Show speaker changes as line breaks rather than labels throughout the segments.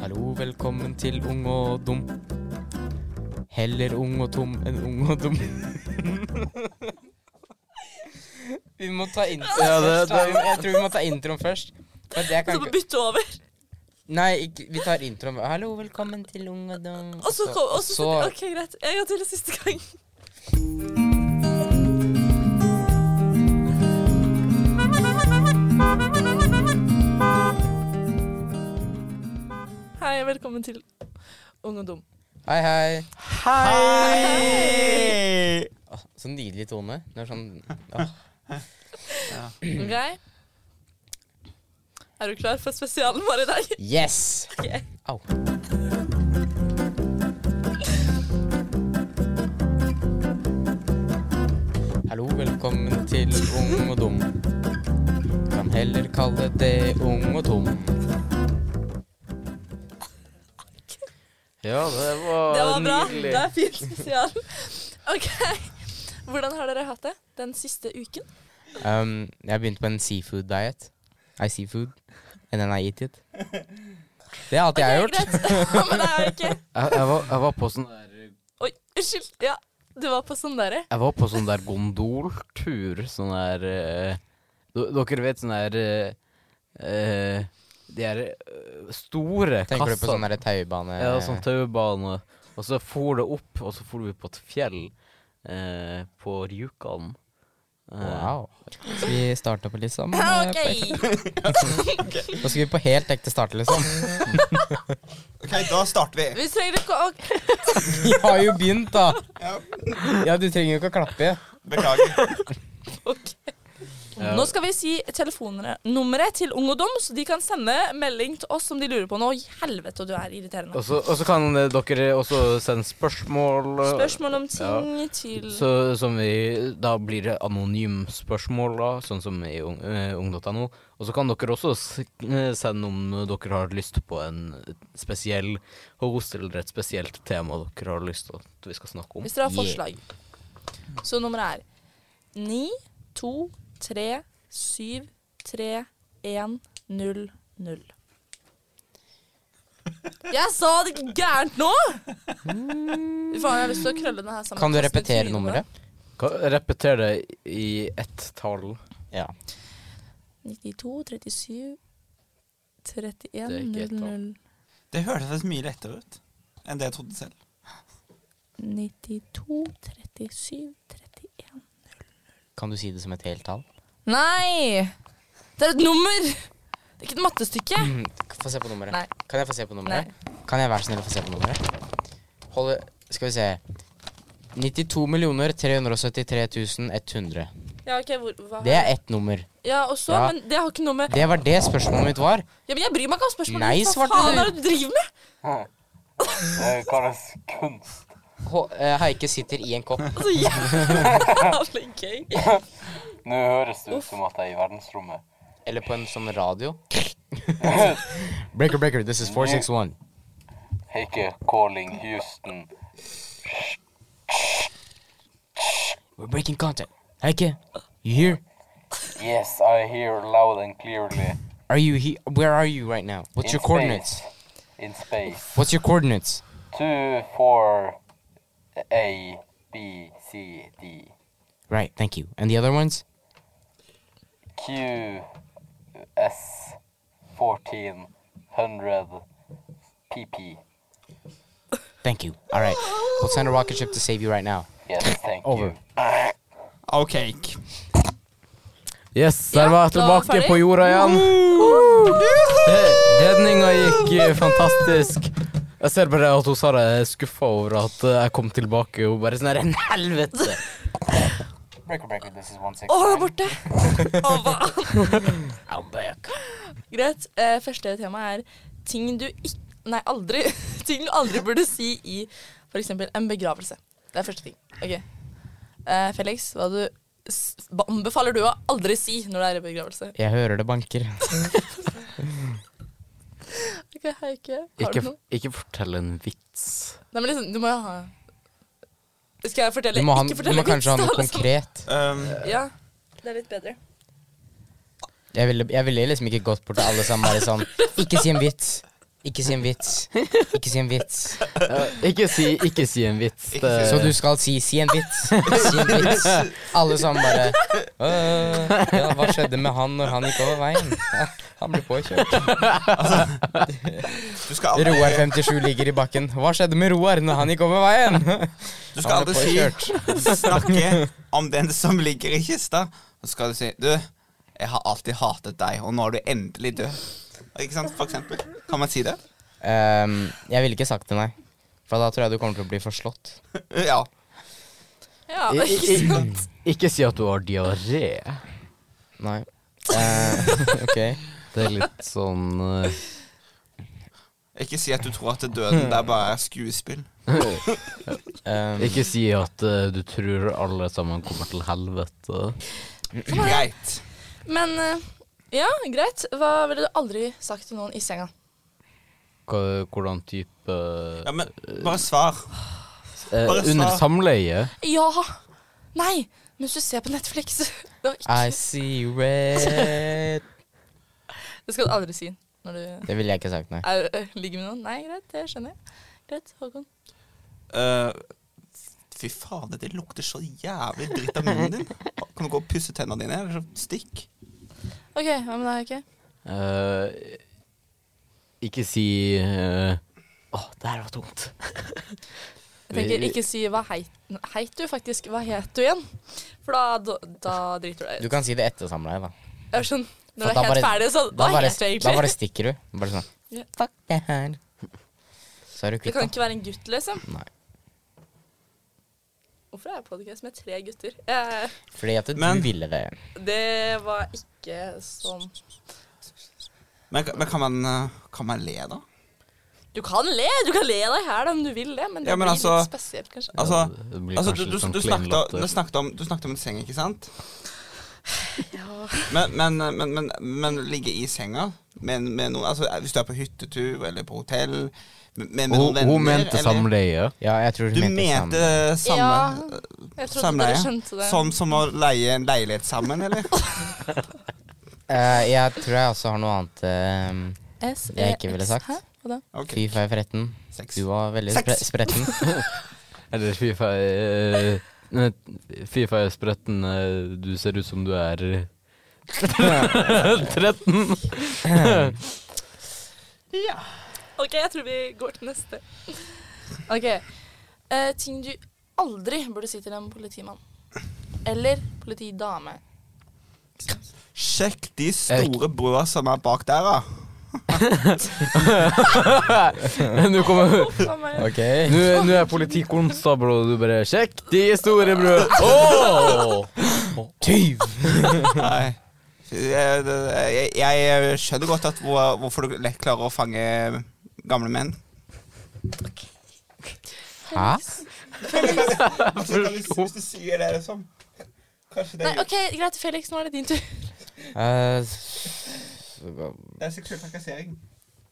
Hallo, velkommen til Ung og dum. Heller ung og tom enn ung og dum. vi må ta introen
Ja, det-
først. da. Vi må- Jeg tror vi må ta introen først. Men det
Så
kan
må
ikke
bytte over.
Nei, ikke, vi tar introen. Hallo, velkommen til Ung og dum.
Og så kom og så,
og så-
OK, greit. En gang til og siste gang. Hei, og velkommen til Ung og dum.
Hei, hei.
Hei!
Åh, så nydelig tone. Det er sånn åh.
OK? Er du klar for spesialen vår i dag?
Yes!
Ok.
Au. Hallo, velkommen til Ung og dum. Kan heller kalle det Ung og tom.
Ja, det var,
Det var bra.
nydelig.
Det er fint spesial. OK. Hvordan har dere hatt det den siste uken?
Um, jeg begynte på en seafood diet. I see food, and then I eat it. Det har alt jeg har
Ok,
gjort.
greit. Men det er jo ikke
Jeg, jeg, var, jeg, var på sånn der,
Oi, unnskyld. Ja, du var på sånn derre.
jeg var på sånn der gondoltur. Sånn der eh, d- Dere vet sånn der eh, eh, De er eh, store
Tenker du på sånn
kassene.
der eh, taubane
Ja, sånn taubane. Og så for det opp, og så for vi på et fjell eh, på Rjukan. Eh,
Wow. Skal vi starte på liksom? eh,
OK.
på ekte? Da skal vi på helt ekte starte, liksom.
Ok, da starter vi.
Vi trenger ikke å ok.
Vi har jo begynt, da.
Ja.
Ja, du trenger jo ikke å klappe.
Beklager.
ja.
Nå skal vi si telefonnummeret til Ung og Dum, så de kan sende melding til oss om de lurer på noe. I Helvete, du er irriterende.
Og så og så kan eh, dere også sende spørsmål. eh,
Spørsmål om ting til
Så, som vi, da blir det anonym spørsmål, da, sånn som i ung- eh, ung.no. Og så kan dere også s- eh, sende om dere har lyst på en spesiell host eller et spesielt tema dere har lyst til at vi skal snakke om.
Hvis dere har forslag. Så nummeret er 9, 2, 3, 7, 3, 1, 0, 0. Jeg sa det ikke gærent nå! Fy faen, jeg har lyst til å krølle den her sammen.
Kan du
Kaste
repetere
trynet.
nummeret?
Ka- Repeter det i ett tall.
Ja.
92, 37, 31,
Det er ikke et
00,
tall.
Det hørtes faktisk mye lettere ut enn det jeg trodde selv.
92, 37, 31.
Kan du si det som et helt tall?
Nei! Det er et nummer! Det er ikke et mattestykke.
Få se på nummeret.
Mm. Nei.
Kan jeg få se på nummeret?
Nei.
Kan jeg være snill å få se på nummeret? Hold, skal vi se 92 373 100.
Ja, ok, hvor, hva har
Det er ett nummer.
Ja, og så,
Ja.
men det har ikke noe med
Det var det spørsmålet mitt var.
Ja, men jeg bryr meg ikke om spørsmålet.
Nei,
ditt. Hva
svarte
faen
du.
er det du driver med?
Det kalles Eh, kunst.
H eh, Haike sitter i en kopp.
Så Altså, jævlig gøy.
Nå høres det ut som at jeg er i verdensrommet.
Eller på en sånn radio. breaker, breaker, this is 461.
Heike calling Houston.
We're breaking contact. Haike, you here?
Yes, I hear loud and clearly.
Are you he Where are you right now? What's your coordinates?
In space.
What's your coordinates?
two, four, A, B, C, D,
Right, thank you. And the other ones?
Q, S, 14, 100, PP.
Thank you. All right. We'll send a rocket ship to save you right now.
Yes, thank
Over.
you.
OK.
Yes,
der Ja, var jeg da var tilbake ferdig. på
jorda igjen. Redninga gikk eh, fantastisk. Jeg ser bare at hun Sara er skuffa over at eh, jeg kom tilbake. Hun bare sånn her En helvete!
Breaker, breaker, this is one six.
Å, der borte. Å, hva? Greit. Eh, første tema er ting du ikke Nei, aldri. Ting du aldri burde si i f.eks. en begravelse. Det er første ting. OK. Eh, Felix, hva du s- hva anbefaler du å aldri si når det er i begravelse?
Jeg hører det banker.
Ok, Heike, har
Ikke,
du noe?
ikke fortell en vits.
Nei, men liksom, du må jo ha Skal jeg fortelle?
Du må, ha,
ikke
du
fortelle
må kanskje ha
vits,
noe
da, liksom.
konkret.
Um,
Ja, det er litt bedre.
Jeg ville, jeg ville liksom ikke gått bort til alle sammen bare sånn Ikke si en vits. Ikke si en vits. Ikke si en vits.
Eh, ikke, si, ikke si en vits. Eh,
Ikke
det-
Så du skal si 'si en vits'. Si en vits. Alle sammen bare «Øh, Ja, hva skjedde med han når han gikk over veien? Ja, Han ble påkjørt.
Du skal aldri,
Roar 57 ligger i bakken. Hva skjedde med Roar når han gikk over veien?
du
Han
skal
ble
aldri si Snakke om den som ligger i kista. Så skal du si Du, jeg har alltid hatet deg, og nå er du endelig død. Ikke sant, for eksempel. Kan man si det?
Ehm, jeg ville ikke sagt det, nei. For da tror jeg du kommer til å bli forslått.
Ja.
Ja,
I- i-
ikke sant?
Ikke si at du har diaré.
Nei. Eh, ok.
Det er litt sånn eh,
Ikke si at du tror at
Hmm.
døden der bare er skuespill.
Ehm,
Ikke si at eh, du tror alle sammen kommer til helvete.
Greit.
Men eh, ja, greit. Hva ville du aldri sagt til noen i senga?
Hva- Hvordan type
Ja, men bare svar.
eh,
bare
Under
svar.
samleie?
Ja! Nei! Mens du ser på Netflix. Det, var ikke,
I see red
det skal du aldri si når du
Det ville jeg ikke sagt, nei.
er, eh, ligger med noen. Nei, greit, det skjønner jeg. Greit, Håkon.
Eh, fy fader, det lukter så jævlig dritt av munnen din. Kan du gå og pusse tennene dine, eller så stikk?
OK, hva med deg, Ikke?
Eh, ikke si eh, Å, det her var tungt.
Jeg tenker, ikke si hva heit, heit du faktisk. Hva het du igjen? For da, da, da driter du
Du
deg ut.
kan si det etter samleie, da.
Jeg skjønner. Når
For
du
da
er helt
bare-
ferdig, så
Da
hva
bare,
het du
da
egentlig?
bare stikker du. Bare sånn
Ja.
Fuck det her. Så er du
Det
kvitt
kan
det.
ikke være en gutt, liksom.
Nei.
Hvorfor er jeg podkast med tre gutter? Eh,
Fordi at du
Men-
ville det.
det var ikke sånn
Men, men kan, man, eh, kan man le, da?
Du kan le, du kan le deg her da, om du vil det, men det
Ja, men
blir
altså-
litt spesielt, kanskje.
Altså,
Ja, det blir
altså du,
kanskje
du,
litt sånn
du,
klein
snakket,
latter.
du, snakket om, du snakket om en seng, ikke sant?
Ja.
Men, men, eh, men, men, men ligge i senga med, med noen altså, Hvis du er på hyttetur eller på hotell med, med
Hun-
noen venner
Hun mente
eller-
samleie.
Ja, jeg tror
Du mente
sammen.
samme Sånn-
Ja, Jeg trodde
Samleie.
dere skjønte det.
Som, som å leie en leilighet sammen, eller?
Eh, jeg tror jeg også har noe annet ehm,
S,
jeg ikke ville sagt.
Hæ? Hva da?
Ok,
Fy five 13.
Sex.
Du var veldig spre
Sex.
spretten.
Eller Fifa eh, eh, Fifa er spretten, eh, du ser ut som du er eh, 13.
Ja.
Ok, jeg tror vi går til neste. Ok. Eh, ting du aldri burde si til en politimann. Eller politidame.
Sjekk de store broa som er bak der, da.
Nå kommer
Uff, hva meg.
Ok.
Nå nå er jeg politikonstabel, og du bare 'Sjekk de store brød'. Åh!
Tyv!
Nei. Jeg, jeg, jeg skjønner godt at hvor, hvorfor du lett klarer å fange gamle menn.
Hæ?
hvis, Altså, du sier det, liksom Kanskje
Nei, ok, greit, Felix, nå er det din tur.
Eh, s-
Det er seksuell trakassering.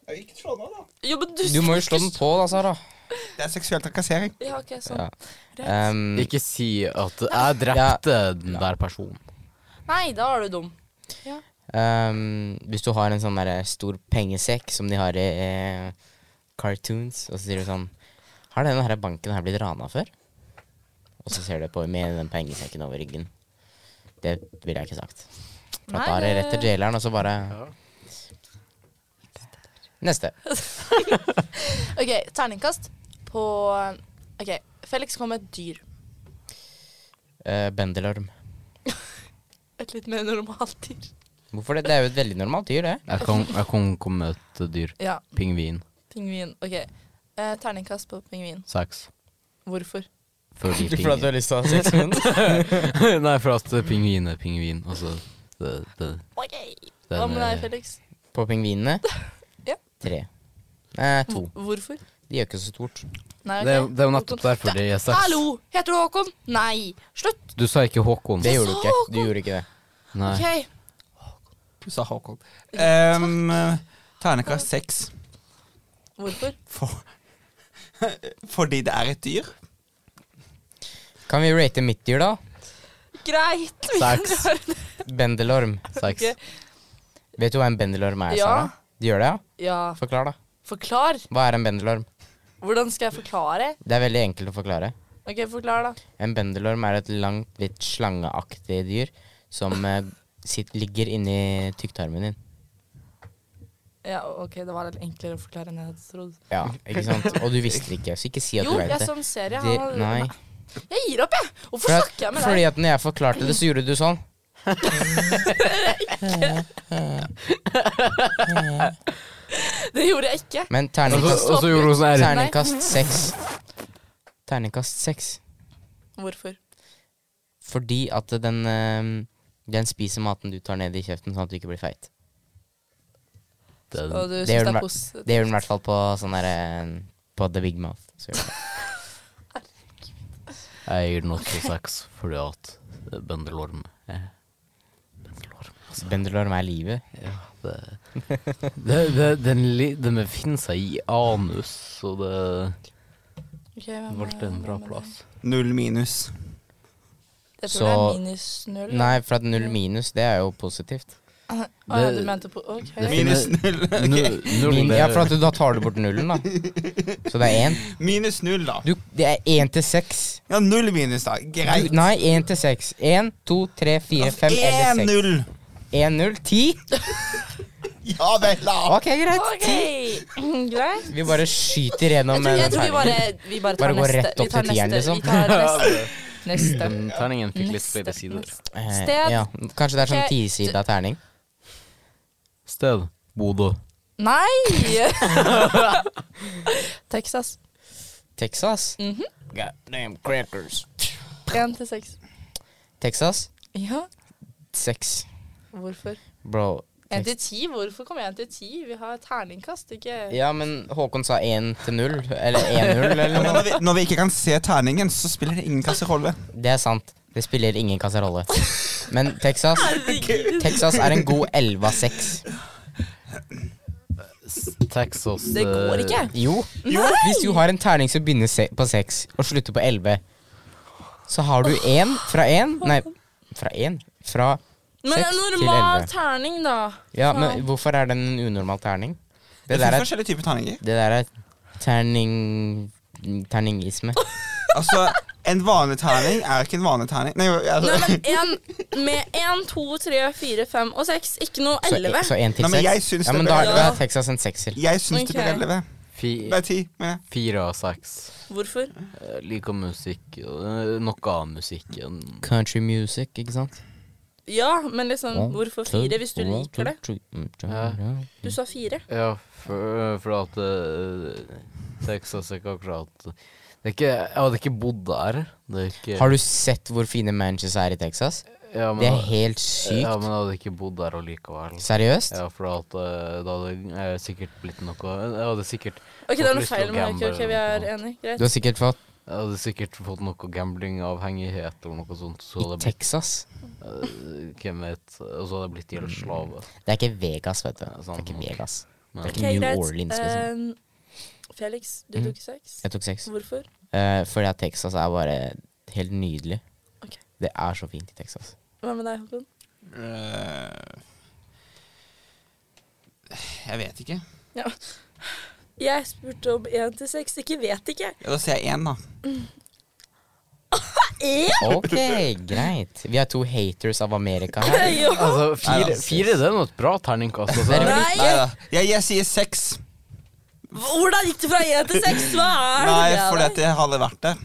Ja, Ikke slå nå, da.
Jo, men du,
du må jo slå den på, da, Sara.
Det er seksuell trakassering.
Ja, ok, sånn.
Ja.
Greit.
Um,
Ikke si at 'jeg drepte den der personen'.
Nei, da er du dum.
Um, hvis du har en sånn der stor pengesekk som de har i eh, cartoons, og så sier du sånn Har denne her banken her blitt rana før? Og så ser du på med den pengesekken over ryggen. Det ville jeg ikke sagt. For at da er det rett til jaileren, og så bare Neste.
Ok, terningkast på Ok, Felix kom med et dyr.
Eh, bendelorm.
Et litt mer normalt dyr.
Hvorfor det? Det er jo et veldig normalt dyr, det.
Jeg kan, jeg kan komme med et dyr.
Ja,
Pingvin.
pingvin. Ok. Eh, terningkast på pingvin.
Seks.
Hvorfor?
Fordi pingvin.
har lyst til å ha sex med den?
Nei, for at pingvin er pingvin. Altså, det, det,
Ok.
den eh,
Hva med
er-
deg, Felix?
På pingvinene?
Ja.
Tre. Nei, to.
Hvor- Hvorfor?
De gjør ikke så stort.
Nei, ok.
Det, er- det er jo nettopp
Håkon.
derfor det er
Da-
seks.
Hallo! Heter du Håkon? Nei! Slutt!
Du sa ikke Håkon.
Det
Jeg
gjorde du
sa
ikke. Du
Håkon.
gjorde ikke det.
Nei.
Ok.
Du sa Håkon. Um, Ternekast seks.
Hvorfor?
For, fordi det er et dyr?
Kan vi rate mitt dyr, da?
Greit! vi kan
Seks.
gjøre det.
Bendelorm.
Seks.
Ok.
Vet du hva en bendelorm er,
Ja.
Sara? Du gjør det, ja?
Ja.
Forklar, da.
Forklar!
Hva er en bendelorm?
Hvordan skal jeg forklare?
Det er veldig enkelt å forklare.
Ok, forklar, da.
En bendelorm er et langt, litt slangeaktig dyr som eh, sitt, ligger inni tykktarmen din.
Ja, ok, Det var litt enklere å forklare enn jeg hadde trodd.
Ja, ikke sant? Og du visste det ikke, så ikke si at
Jo,
du veit
jeg
det.
så en serie.
det.
Han,
Nei.
Jeg gir opp, jeg! Hvorfor
For at-
snakker jeg med
Fordi
deg?
at når jeg forklarte det, så gjorde du sånn.
Det gjorde jeg ikke.
Men
Og
terningkast,
så- og så gjorde hun sånn her.
terningkast seks. Terningkast seks.
Hvorfor?
Fordi at den, eh, den spiser maten du tar ned i kjeften, sånn at du ikke blir feit.
Og du
Det gjør
syns det
den
er
hver- Det
positivt?
gjør den i hvert fall på sånn der, eh, På The Big Mouth. Så gjør den det.
Jeg gir den også seks fordi at bendelorm er Bendelorm, altså.
Bendelorm er livet.
Ja, det, eh, det, det, den, li- den befinner seg i anus, så det
Ok, hvem er-
valgte en
hvem
bra
er det?
plass.
Null minus.
Jeg tror
Så-
det er minus null. da.
Nei, for at null minus, det er jo positivt.
Å ja,
Det-
du mente på Ok.
det fin-
Minus null. ok.
Nu- Null,
Min,
det-
ja, for at da tar du bort nullen, da. Så det er én.
Minus null, da.
Du, det er én til seks.
Ja, null minus, da.
Du-
Greit.
Nei, én til seks. Én, to, tre, fire, fem
Altså,
eller
Én
seks.
null.
Én, null, ti.
Ja vel, da.
Ok, greit.
Ok, greit.
Vi bare skyter gjennom eh,
Jeg tror, jeg
den
tror vi bare, vi bare tar
Bare gå
neste.
rett opp
vi tar
til tieren,
neste,
liksom. Mm,
Vi tar neste. neste.
Den terningen fikk litt
Neste,
flere sider.
neste.
Eh,
Sted.
Ja, kanskje det er sånn
Ok.
tisida terning.
Sted Bodø.
Nei! Texas.
Texas.
Mhm.
Goddamn crackers.
Én til seks.
Texas?
Ja,
Seks.
hvorfor?
Bro.
Én til
Tex
ti? Hvorfor kom én til ti? Vi har terningkast, ikke
ja, men Håkon sa én til null. Eller én null,
Ja,
eller
men
noe.
når, vi, når vi ikke kan se terningen, så spiller det ingen kasserolle.
Det er sant. Det spiller ingen kasserolle. Men Texas Texas er en god 11 av 6.
S- Texas
Det går
eh,
ikke.
Jo. Hvis du har en terning som begynner se på 6 og slutter på 11, så har du én fra én Nei, fra én? Fra
Men en
seks til
normal
elleve.
terning, da.
Ja,
Faen.
men hvorfor er den en unormal terning? Det
Det
der
finnes
er,
forskjellige typer terninger.
det der er terning... Terningisme.
Altså, en vanlig terning er ikke en vanlig terning. Nei,
Nei,
altså,
men en, med én, to, tre, fire, fem og seks. Ikke noe
Så,
elleve.
så en til
Nei, men jeg
seks?
syns
Ja,
det
men
bør
da, er-
være
da
det.
er Texas en sekser.
jeg syns
Ok.
det blir 11.
Fi,
Det er 10. Men
fire av seks.
Hvorfor?
Eh, Liker musikk. eh, Noe av musikken.
Country music, ikke sant?
Ja, men liksom, hvorfor fire hvis du liker det?
Mm, Ja.
Du sa fire.
Ja, for, for at eh, Texas er ikke akkurat det er ikke, Jeg hadde ikke bodd der. Det er ikke,
Har du sett hvor fine mansions er i Texas?
ja, men,
Det er helt
Ja,
sykt.
men jeg hadde ikke bodd der allikevel.
Seriøst?
Ja, for at eh, det hadde eh, sikkert blitt noe Jeg hadde sikkert,
Ok, det er noe
Lyst til å
feil med Michael. Ok, vi er enige.
Du
Greit.
har sikkert fått
jeg hadde sikkert fått noe gamblingavhengighet eller noe sånt.
i
Så hadde jeg blitt,
Texas.
eh, hvem vet, og så hadde jeg blitt helt
Mm.
slave.
Det er ikke Vegas, vet du.
Ja,
Det
sant.
er ikke Vegas.
Men-
Det er
Ok,
ikke New
greit.
Orleans, liksom.
Ehm, Felix, du
Mhm.
tok seks.
Jeg tok seks.
Hvorfor?
Eh, fordi at Texas er bare helt nydelig.
Ok.
Det er så fint i Texas.
Hva med deg, Håkon?
jeg vet ikke.
Jeg spurte om én til seks. Ikke vet ikke.
Ja, Da sier jeg 1, da.
Eh?
Én?
Ok, greit. Vi er to haters av Amerika her.
Jo.
Altså,
Nei,
fire,
da.
fire det er nå et bra terningkast. Altså.
Nei.
Nei!
da. Jeg, jeg sier 6.
Hvordan gikk det fra én til seks? Hva er det?
Nei,
med
fordi at
deg?
jeg har aldri vært der.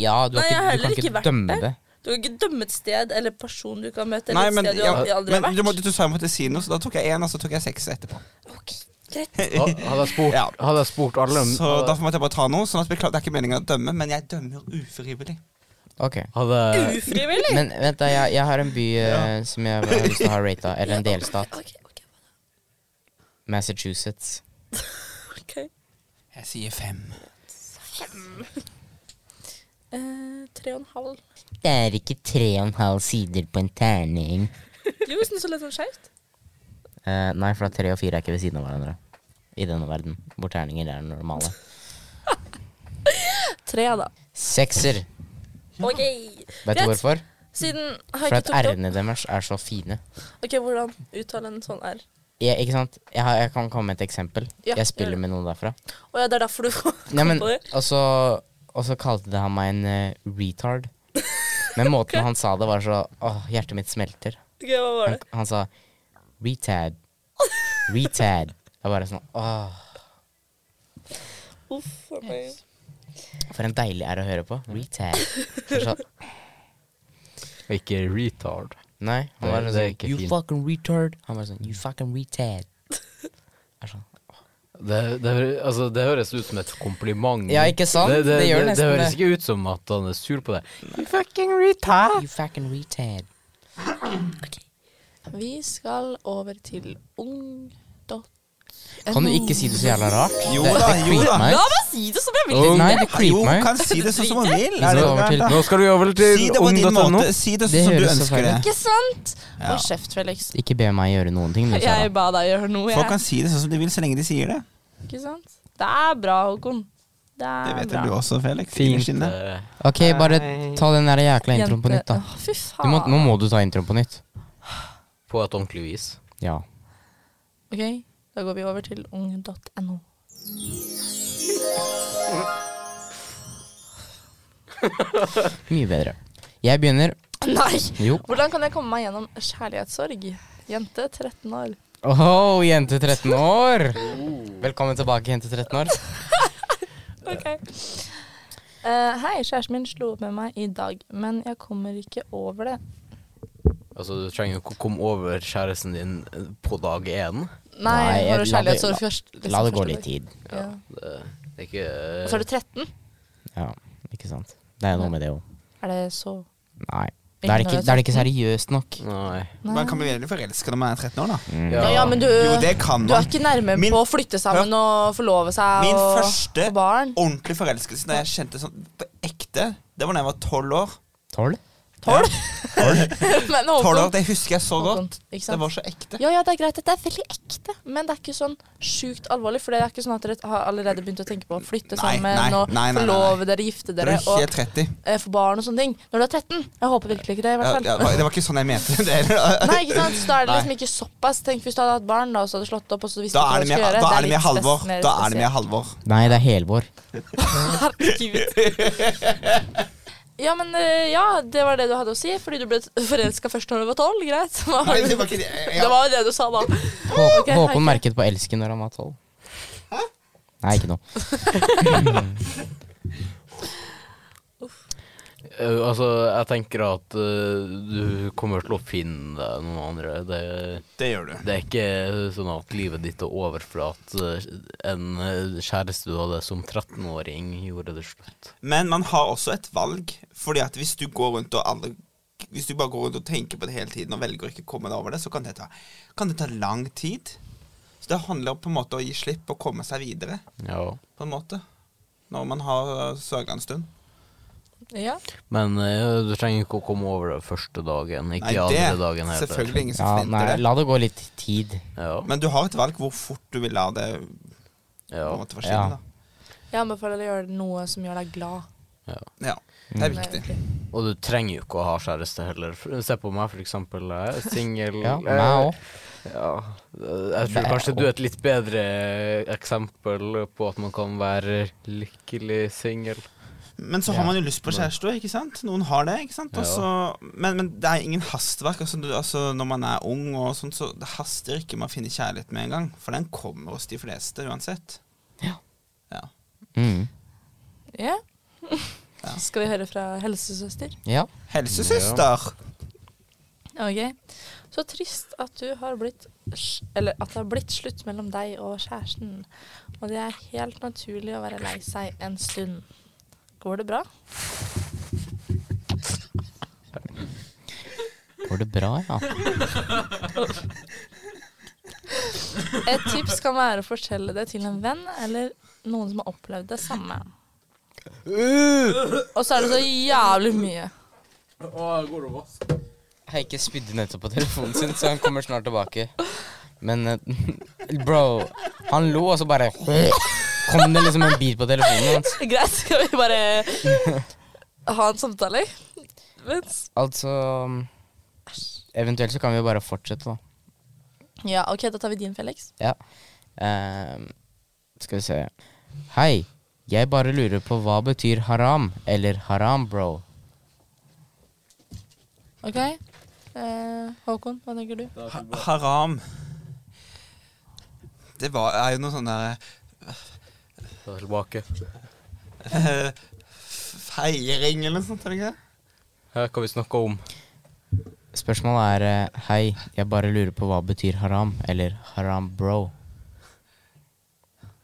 Ja, du, har
Nei,
ikke, du
jeg har
kan
heller ikke
ikke
vært
dømme
der.
det.
Du kan ikke dømme et sted eller person du kan møte,
Nei,
eller
men,
et sted du
ja,
aldri- aldri har
men du
vært.
måtte du sa jeg måtte si noe, så da tok jeg 1, og så tok jeg 6 etterpå.
Ok, greit.
Ha- Hadde jeg spurt,
Ja.
hadde jeg spurt alle om-
Så
hadde,
derfor måtte jeg bare ta noe. Sånn at beklager, Det er ikke meningen å dømme, men jeg dømmer ufrivillig.
Ok.
hadde,
Ufrivillig.
Men vent, da. Jeg, jeg har en by eh, som jeg har lyst til å ha rata, eller en delstat.
Ok, ok,
Massachusetts.
ok.
Jeg sier 5.
Eh, tre og en halv.
Det er ikke tre og en halv sider på en terning.
Jo, hvis den så litt sånn skjevt.
Eh, nei, for at tre og fire er ikke ved siden av hverandre. I denne verden. Hvor terninger er normale.
Tre, da.
Sekser.
Ok.
Vet du hvorfor?
Siden har jeg
For
ikke
at E
tatt opp.
r-ene deres er så fine.
Ok, hvordan uttaler en sånn R?
jeg, ikke sant? Jeg, har, jeg kan komme med et eksempel.
Ja,
jeg
gjør
spiller
det.
med noen derfra.
Å ja, det er derfor du kom
Nei, men,
på det?
og, så, og så kalte det han meg en eh, retard. Men måten han sa det, var så Åh, hjertet mitt smelter.
Ok, hva var
Han,
det?
han sa retad. Retad. Det var bare sånn Åh,
Uff, for meg.
for en deilig er å høre på. Retad. Det er sånn,
Og ikke retard.
Nei, han var
Det- det er
sånn
ikke
You
fint.
fucking retard. Han var sånn You fucking retad. Det er sånn
Det, det, altså, det høres ut som et kompliment.
Ja, ikke sant?
Det,
Det gjør
det,
nesten
høres
det.
ikke ut som at han er sur på deg.
You fucking retard.
Vi skal over til ung...
Kan du ikke si det så jævla rart?
Jo
det,
da,
det
jo
creeper
da.
meg.
La meg si det som jeg vil!
Ung- Oh. Nei, det
Jo,
creeper meg.
kan si det sånn som man vil.
Vi skal
Er det
over til-
gærent, da?
Nå skal vi over til
Si det på din
ung.no.
måte. Si det
Det
sånn som du
høres så
ønsker
feil
det.
ut.
Ikke sant?
Ja.
Hold kjeft, Felix.
Ikke be meg gjøre noen ting. du, Sara.
Jeg ba deg gjøre noe,
Folk
jeg.
kan si det sånn som de vil, så lenge de sier det.
Ikke sant? Det er bra, Håkon. Det
Det
er
vet
bra.
jeg du også, Felix.
Fint.
Innerst inne.
eh,
Ok, bare ta den der jækla introen på nytt, da.
Å, Fy
Du
faen.
må, nå må du ta introen på nytt.
På et ordentlig vis.
Ja.
Ok, da går vi over til ung.no.
Mye bedre. Jeg begynner.
Nei!
Jo.
Hvordan kan jeg komme meg gjennom kjærlighetssorg? Jente 13 år.
Åh, Oh, jente 13 år! Velkommen tilbake, jente 13 år.
Ok. Eh, hei, kjæresten min slo opp med meg i dag, men jeg kommer ikke over det.
Altså, du trenger jo ikke å komme over kjæresten din eh, på dag én.
Nei,
Nei,
har du
jeg- la det-
kjærlighetssorg først? liksom
La det gå
første
litt
dag?
tid.
Ja.
Det, det er ikke
Og så er du 13.
Ja, ikke sant. Det er noe med det òg.
Er det så
Nei. Da er, det ikke, da er det ikke seriøst nok.
Nei.
Man kan bli veldig forelska når man er 13 år, da.
Mm.
Ja, ja, men du,
Jo, det kan
Øh, du er
man.
ikke nærme
Min-
på å flytte sammen og forlove seg
Min
og
første-
få barn.
Ordentlig forelskelse da jeg kjente sånn på ekte. Det var da jeg var tolv år.
Tolv?
Tolv? Men Håkon-
12 år, Det husker jeg så
Håkon,
godt.
ikke sant?
Det var så ekte.
Ja, ja, det er greit. Dette er veldig ekte, men det er ikke sånn sjukt alvorlig. For det er ikke sånn at dere har allerede begynt å tenke på å flytte
Nei,
sammen
nei,
og
nei, nei, nei, nei.
forlove dere, gifte
Dere
dere
er
og
30.
eh, få barn og sånne ting. Når du er 13. Jeg håper virkelig ikke det, i
Ja,
hvert
ja,
fall.
det var ikke sånn jeg mente det. heller.
Nei, ikke sant? Så da er det liksom ikke såpass. Tenk hvis du hadde hatt barn, da, og så hadde du slått opp, og så visste du
Da er det
ikke
med,
hva du
da er
skulle
det
gjøre.
med Halvor.
Det er litt
Da er det med Halvor.
Nei, det er helvår.
spesielt. Herregud. Ja, men eh, ja, det var det du hadde å si, fordi du ble forelska først når du var tolv. Greit. Hva har
Nei,
du-
det var ikke det.
Det eh,
Ja.
var jo det du sa da.
Hå
Ok, hei.
Håkon merket på elsken når han var tolv. Nei, ikke noe.
Eh, altså, jeg tenker at eh, du kommer til å finne deg noen andre. Det,
Det gjør du.
det er ikke sånn at livet ditt er over for at eh, en eh, kjæreste du hadde som 13-åring, gjorde det slutt.
Men man har også et valg. Fordi at hvis du går rundt og alle Hvis du bare går rundt og tenker på det hele tiden og velger å ikke komme deg over det, så kan det ta, kan det ta lang tid. Så det handler på en måte om å gi slipp og komme seg videre,
Ja.
på en måte. Når man har uh, sørga en stund.
Ja.
Men eh, du trenger ikke å komme over det første dagen, ikke
Nei, det
andre dagen
er
heller.
selvfølgelig ingen som
Ja, nei,
forventer det.
la det gå litt tid.
Ja.
Men du har et valg hvor fort du vil la det på
ja.
en måte
Ja.
forsvinne. da.
Jeg anbefaler deg å gjøre noe som gjør deg glad.
Ja, det
Mm.
er viktig.
Og du trenger jo ikke å ha kjæreste heller. F- Se på meg, for eksempel. Jeg er singel.
Ja, meg òg.
Ja. Jeg tror kanskje du er et litt bedre eksempel på at man kan være lykkelig singel.
Men så har man jo lyst på kjæreste òg, ikke sant? Noen har det, ikke sant? Og så- men, men det er ingen hastverk. Altså, du, altså, når man er ung, og sånt, så det haster ikke med å finne kjærlighet med en gang. For den kommer hos de fleste uansett.
Ja.
Ja.
Mm.
Ja.
Ja.
Skal vi høre fra helsesøster?
Ja.
Helsesøster!
Ok. Så trist at du har blitt sj- Eller at det har blitt slutt mellom deg og kjæresten. Og det er helt naturlig å være lei seg en stund. Går det bra?
Går det bra, ja?
Et tips kan være å fortelle det til en venn eller noen som har opplevd det samme.
Uh!
Og så er det så jævlig mye.
Heike spydde nettopp på telefonen sin, så han kommer snart tilbake. Men eh, bro, han lo, og så bare kom det liksom en bit på telefonen hans.
Greit, skal vi bare ha en samtale? Vent.
Altså Eventuelt så kan vi jo bare fortsette, da.
Ja, ok, da tar vi din, Felix.
Ja. Ehm, skal vi se. Hei. Jeg bare lurer på hva betyr haram eller haram, bro?
Ok? Eh, Håkon, hva tenker du?
Ha haram. Det var, er jo noe sånn der
Ta tilbake.
eh, Feiring eller noe sånt, er det ikke det?
Her kan vi snakke om
Spørsmålet er eh, Hei, jeg bare lurer på hva betyr haram eller haram, bro?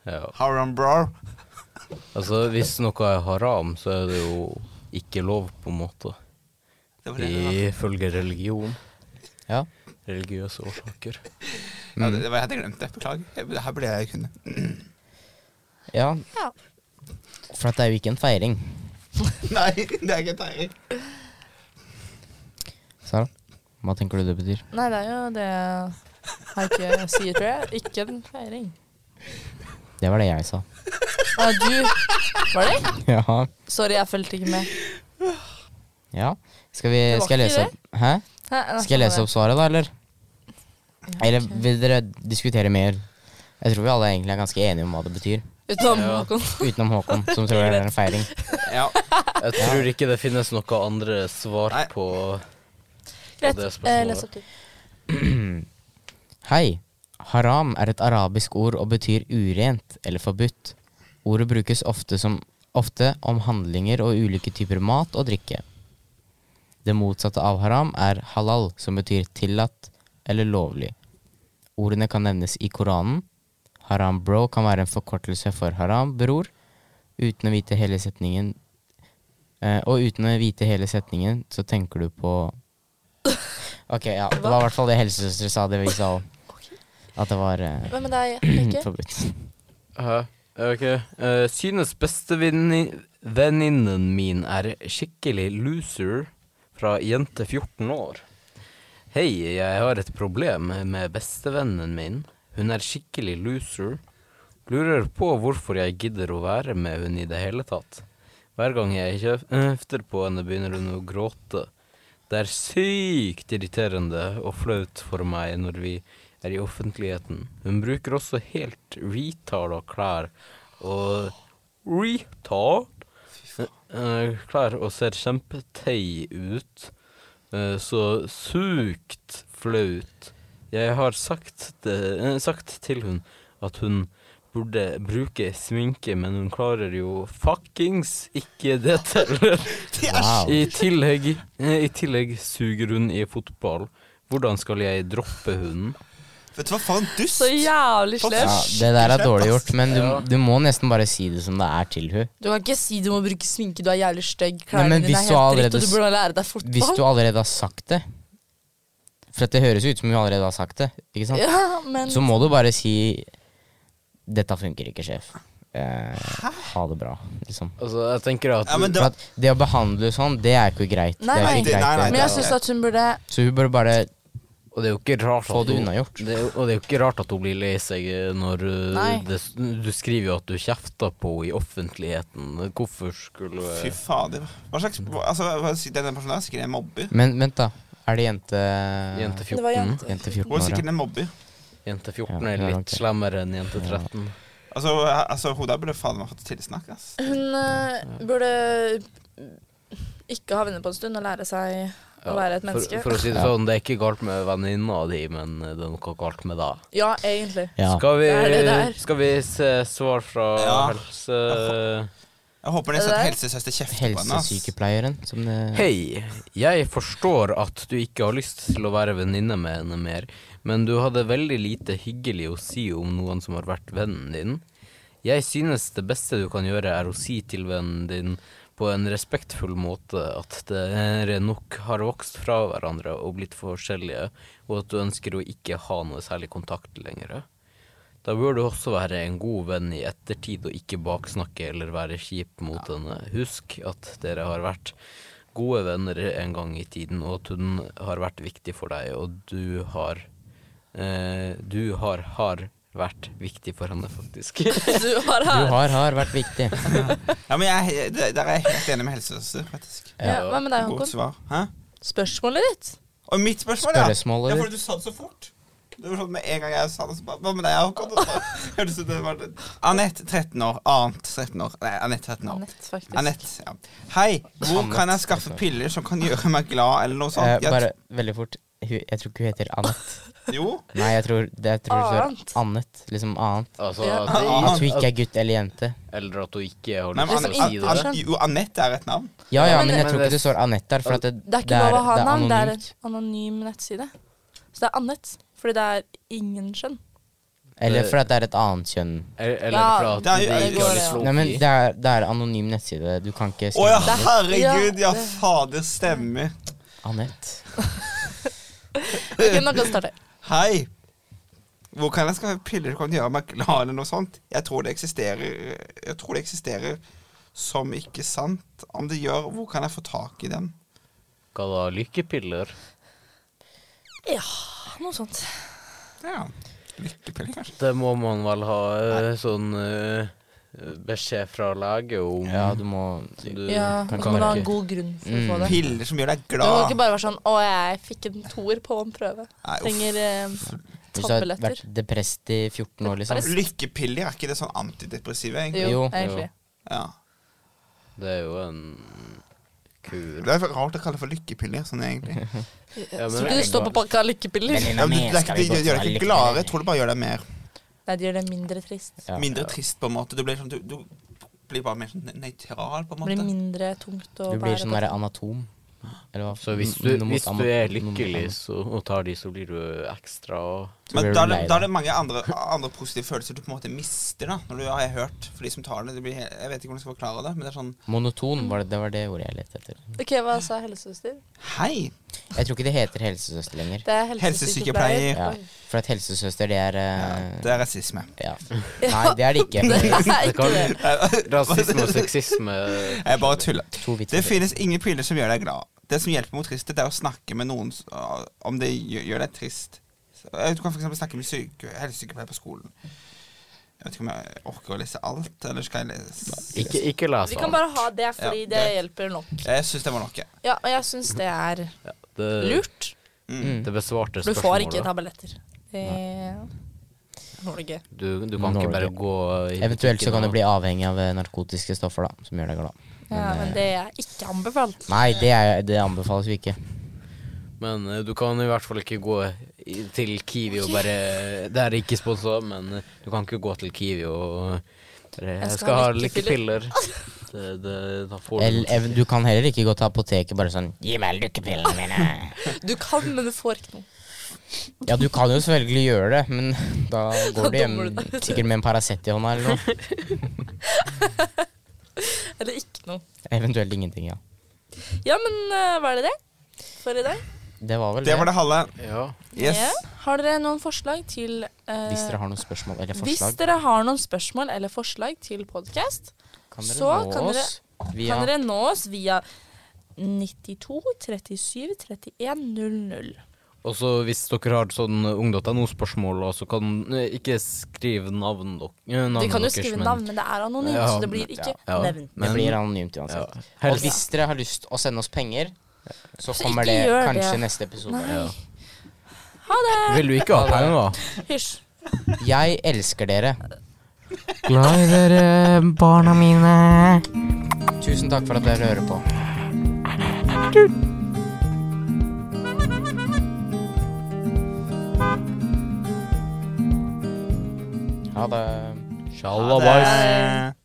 ja.
Haram bro.
Altså, hvis noe er haram, så er det jo ikke lov, på en måte.
Det var det. det var.
Ifølge religion.
Ja.
Religiøse årsaker.
Ja, det, det var jeg hadde glemt det. Beklager. Jeg- Her ble jeg kunde.
Ja,
Ja.
for at det er jo ikke en feiring.
Nei, det er ikke feiring.
Sara, hva tenker du det betyr?
Nei, det er jo det Heike sier, tror jeg. Ikke en feiring.
Det var det jeg sa.
Ah, du Var det?
Ja.
Sorry, jeg fulgte ikke med.
ja. Skal, vi,
Det var
skal jeg
ikke
lese opp Hæ?
Hæ? Nei,
Skal jeg lese opp svaret, da, eller? Eller vil dere diskutere mer? Jeg tror vi alle egentlig er ganske enige om hva det betyr.
Utenom
Ja.
Håkon.
Utenom Håkon, som tror det er en feiring.
Ja.
Jeg tror ikke det finnes noe andre svar
Nei.
på
Greit.
det spørsmålet.
Eh, les opp du.
Hei. Haram er et arabisk ord og betyr urent eller forbudt. Ordet brukes ofte, som, ofte om handlinger og ulike typer mat og drikke. Det motsatte av haram er halal, som betyr tillatt eller lovlig. Ordene kan nevnes i Koranen. Haram bro kan være en forkortelse for haram bror, uten å vite hele setningen. Eh, og uten å vite hele setningen, så tenker du på Ok, ja. Det var i hvert fall det helsesøstre sa, det vi sa òg. At det var eh,
Hvem er deg, Heike?
forbudt.
Hæ? Ok. Eh, synes bestevenninnen min er skikkelig loser fra jente 14 år. Hei, jeg har et problem med bestevennen min. Hun er skikkelig loser. Lurer på hvorfor jeg gidder å være med hun i det hele tatt. Hver gang jeg kjefter på henne, begynner hun å gråte. Det er sykt irriterende og flaut for meg når vi er i offentligheten. Hun bruker også helt retarda klær og retard eh, klær og ser kjempetei ut. Eh, Så sykt flaut. Jeg har sagt, det, eh, sagt til hun at hun burde bruke sminke, men hun klarer jo fuckings ikke det heller.
Wow.
I tillegg, eh, I tillegg suger hun i fotball. Hvordan skal jeg droppe hunden?
Vet du hva, for en dust!
Så jævlig
For
slem.
Ja, det der er dårlig gjort, men du, du må nesten bare si det som det er til hun.
Du kan ikke si du må bruke sminke, du er jævlig stygg,
Nei,
klærne
men
dine er
hvis
helt
du allerede
dritt, og
s-
du burde lære deg fotball.
Hvis du allerede har sagt det For at det høres jo ut som hun allerede har sagt det, ikke sant?
Ja, men
Så må du bare si 'Dette funker ikke, sjef'. Eh, ha det bra, liksom.
Altså, jeg tenker at
Ja, men det
For at det å behandle sånn, det er ikke greit. det
Nei,
er
nei.
ikke greit,
Nei, nei,
Men
det.
jeg syns at hun burde
Så hun bør bare
Og det er jo ikke rart
Få
at
det
hun-
unnagjort.
Det er, jo- og det er jo ikke rart at hun blir lei seg eh, når eh,
Nei.
det, s- Du skriver jo at du kjefter på henne i offentligheten. Hvorfor skulle eh,
Fy fader. Hva slags hva- Altså, hva, denne personen er sikkert en mobber.
Men vent, da. Er det jente
Jente
Det var
14,
jente.
jente
Hun er
14 år?
sikkert en mobber.
jente 14
Ja,
er
det er
litt
nok det.
slemmere enn jente 13.
Altså, altså hun der burde faen meg fått tilsnakk, ass.
Hun eh, burde ikke ha venner på en stund og lære seg å være et menneske.
For, for å si det
Ja.
sånn, det er ikke galt med venninna di, men eh, det er noe galt med deg.
Ja, egentlig.
Ja.
Skal,
Det er det
vi,
der.
skal vi se svar fra
Ja.
helse...
Jeg håper det
Er
er
det
sånn at
deg?
helsesøster kjefter på henne. ass.
Helsesykepleieren, som det
Hei, jeg forstår at du ikke har lyst til å være venninne med henne mer, men du hadde veldig lite hyggelig å si om noen som har vært vennen din. Jeg synes det beste du kan gjøre er å si til vennen din på en respektfull måte at dere nok har vokst fra hverandre og blitt forskjellige, og at du ønsker å ikke ha noe særlig kontakt lenger. Da bør du også være en god venn i ettertid og ikke baksnakke eller være kjip mot henne. Husk at dere har vært gode venner en gang i tiden, og at hun har vært viktig for deg, og du har eh, Du har, har vært viktig for henne, faktisk.
Du har
Du
her.
har, har vært viktig.
Ja, men jeg, det- der er jeg helt enig med helsesøster, faktisk.
Ja, hva med deg,
Godt
Håkon?
svar. Hæ?
Spørsmålet ditt?
Og mitt spørsmål, ja.
Spørsmålet
Ja,
ditt.
for du sa det så fort. Det var sånn Med en gang jeg sa det, så bare Hva med deg, Håkon? Og så Hørtes ut som det var det. Anette, 13 år. Annet, 13 år. Nei, Anette, 13 år.
Nett, faktisk.
Anette. Ja. Hei, hvor kan jeg skaffe piller som kan gjøre meg glad, eller noe sånt?
Eh,
Sånn, Jeg-
bare veldig fort. Hun, jeg tror ikke hun heter Annet.
Jo.
Nei, jeg tror det jeg tror det
Annet.
står Annet. Liksom annet.
Altså,
Ja.
at,
At hun
at,
ikke er gutt eller jente.
eller at hun ikke har
Nei, men
lyst til
Anette,
å
Ann-
si det.
Ann-
Ann- jo, Anette er et navn.
Ja, ja,
men
men jeg
det-
tror ikke det står Anette der. For at det,
Det er ikke lov å ha navn, det er
anonymt.
et anonymt nettside. Så det er Annet, fordi det er ingen skjønn.
Eller for at det er et annet kjønn.
Eller, eller
Ja,
for at
det er
de
jo-
ikke har lyst til å
Nei, men
oppgi.
det er, det er anonym nettside. Du kan ikke
Å
skrive
ja,
navnet.
herregud! Ja,
Ja, det-
fader, stemmer.
Anette.
Ok, nå kan vi starte.
Hei! Hvor kan jeg skaffe piller som kan gjøre meg glad, eller noe sånt? Jeg tror det eksisterer Jeg tror det eksisterer som ikke sant. Om det gjør, hvor kan jeg få tak i dem?
Hva da? Lykkepiller?
Ja, noe sånt.
Ja. Lykkepiller, kanskje.
Det må man vel ha eh, sånn eh, beskjed fra lege om.
Ja, du må
Så du
Ja,
kan
og
ikke
så må du ha
merke.
en god grunn for å få
Mm.
det.
Piller som gjør
Du
deg
kan ikke
glad.
bare være sånn 'Å, jeg fikk en toer på en prøve'.
Nei, uff.
Trenger eh,
Hvis du har
tableletter.
vært depressed i 14 år, liksom.
Sånn Lykkepiller, er ikke det sånn antidepressive, egentlig?
Jo,
Jo,
egentlig.
Ja.
Det er jo en kur.
Det er rart å kalle det for lykkepiller, sånn egentlig.
Ja, men-
Skulle det stå på pakka lykkepiller?
Ja,
Venninna
men
mi,
det, det,
skal
det,
vi gå
gjør- gjør deg
til
ikke gladere, jeg tror det bare gjør deg mer
Nei, det gjør det mindre trist.
Ja.
mindre trist, på en måte. Du blir, sånn, du, du blir bare mer sånn nøytral, på en
Det blir
måte.
mindre tungt å
Du blir
bære
sånn
på.
derre anatom. Eller hva?
Så hvis du,
Noe mot
hvis du
ama-
er
noe mot
lykkelig
ama-
så, og tar de, så blir du ekstra
så
Men
blir
da er,
du
det,
lei
da
deg.
er det mange andre, andre positive følelser du på en måte mister, da. Når du har jeg hørt for de som tar det. det blir, he- jeg vet ikke hvordan jeg skal forklare det, men det er sånn
Monoton, var det, det var det ordet jeg lette etter.
Ok, hva sa helsesøster?
Hei!
Jeg tror ikke det heter helsesøster lenger.
Det er
Helsesykepleier.
helsesykepleier.
Ja,
Oi.
for at helsesøster, det er eh,
Det er rasisme.
ja. Nei, det er det ikke.
Det
for
er ikke det.
Rasisme og sexisme
Jeg bare tuller.
To vitser.
Det finnes ingen piller som gjør deg glad. Det som hjelper mot tristhet, er å snakke med noen s- ah, om det gjør gjør deg trist. Så, eh, Du kan f.eks. snakke med syke, helsesykepleier på skolen. Jeg vet ikke om jeg orker å lese alt, eller skal jeg lese
Ikke, ikke les
Vi
altså.
kan
alt.
bare ha det, fordi
Ja,
det
greit.
hjelper nok.
Jeg syns det var noe.
Ja, og jeg syns det er
Det,
lurt.
Mm.
det besvarte
For du får ikke
spørsmålet.
tabletter. Det Norge.
Du, du kan ikke
Norge.
bare gå i
Eventuelt så
butikken
kan du
og-
bli avhengig av eh, narkotiske stoffer, da, som gjør deg glad. eh,
Ja, men det er ikke anbefalt.
Nei, det, er, det anbefales jo ikke.
Men eh, du kan i hvert fall ikke gå i, til Kiwi og bare Det er ikke sponsa, men eh, du kan ikke gå til Kiwi og bare, Jeg skal ha lykkepiller. Det, det, da får du
Eller, ev- du kan heller ikke gå til apoteket bare sånn Gi meg lykkepillene mine.
Du kan, men du får ikke noe.
Ja, du kan jo selvfølgelig gjøre det, men da går du hjem
dummer du deg.
sikkert med en Paracet i hånda eller noe.
Eller ikke noe.
Eventuelt ingenting, ja.
Ja, men eh, var det det for i dag?
Det var vel det.
Det var det halve.
Ja.
Yes.
Ja. Har dere noen forslag til eh,
Hvis dere har noen spørsmål eller
hvis
forslag,
dere har noen spørsmål eller forslag til podkast,
kan dere
så
nå
kan dere-
oss via
kan dere nå oss via 92 37 31 00.
Og så hvis dere har sånn ung.no-spørsmål, så kan eh, ikke skrive navn dere. eh, navnet
Vi kan jo
deres,
skrive
men-
navn, men det er anonymt,
Ja,
så det blir ikke
ja.
nevnt.
Det
Men-
blir anonymt
Ja.
uansett. Og
Helst,
hvis dere har lyst å sende oss penger, så
Så
kommer
ikke
det
gjør
kanskje
det.
neste episode.
Nei.
Vil du ikke ha penger?
Hysj.
Jeg elsker dere.
Glad i dere, barna mine.
Tusen takk for at dere hører på. Ha det.
Sjalabais.
Ha det.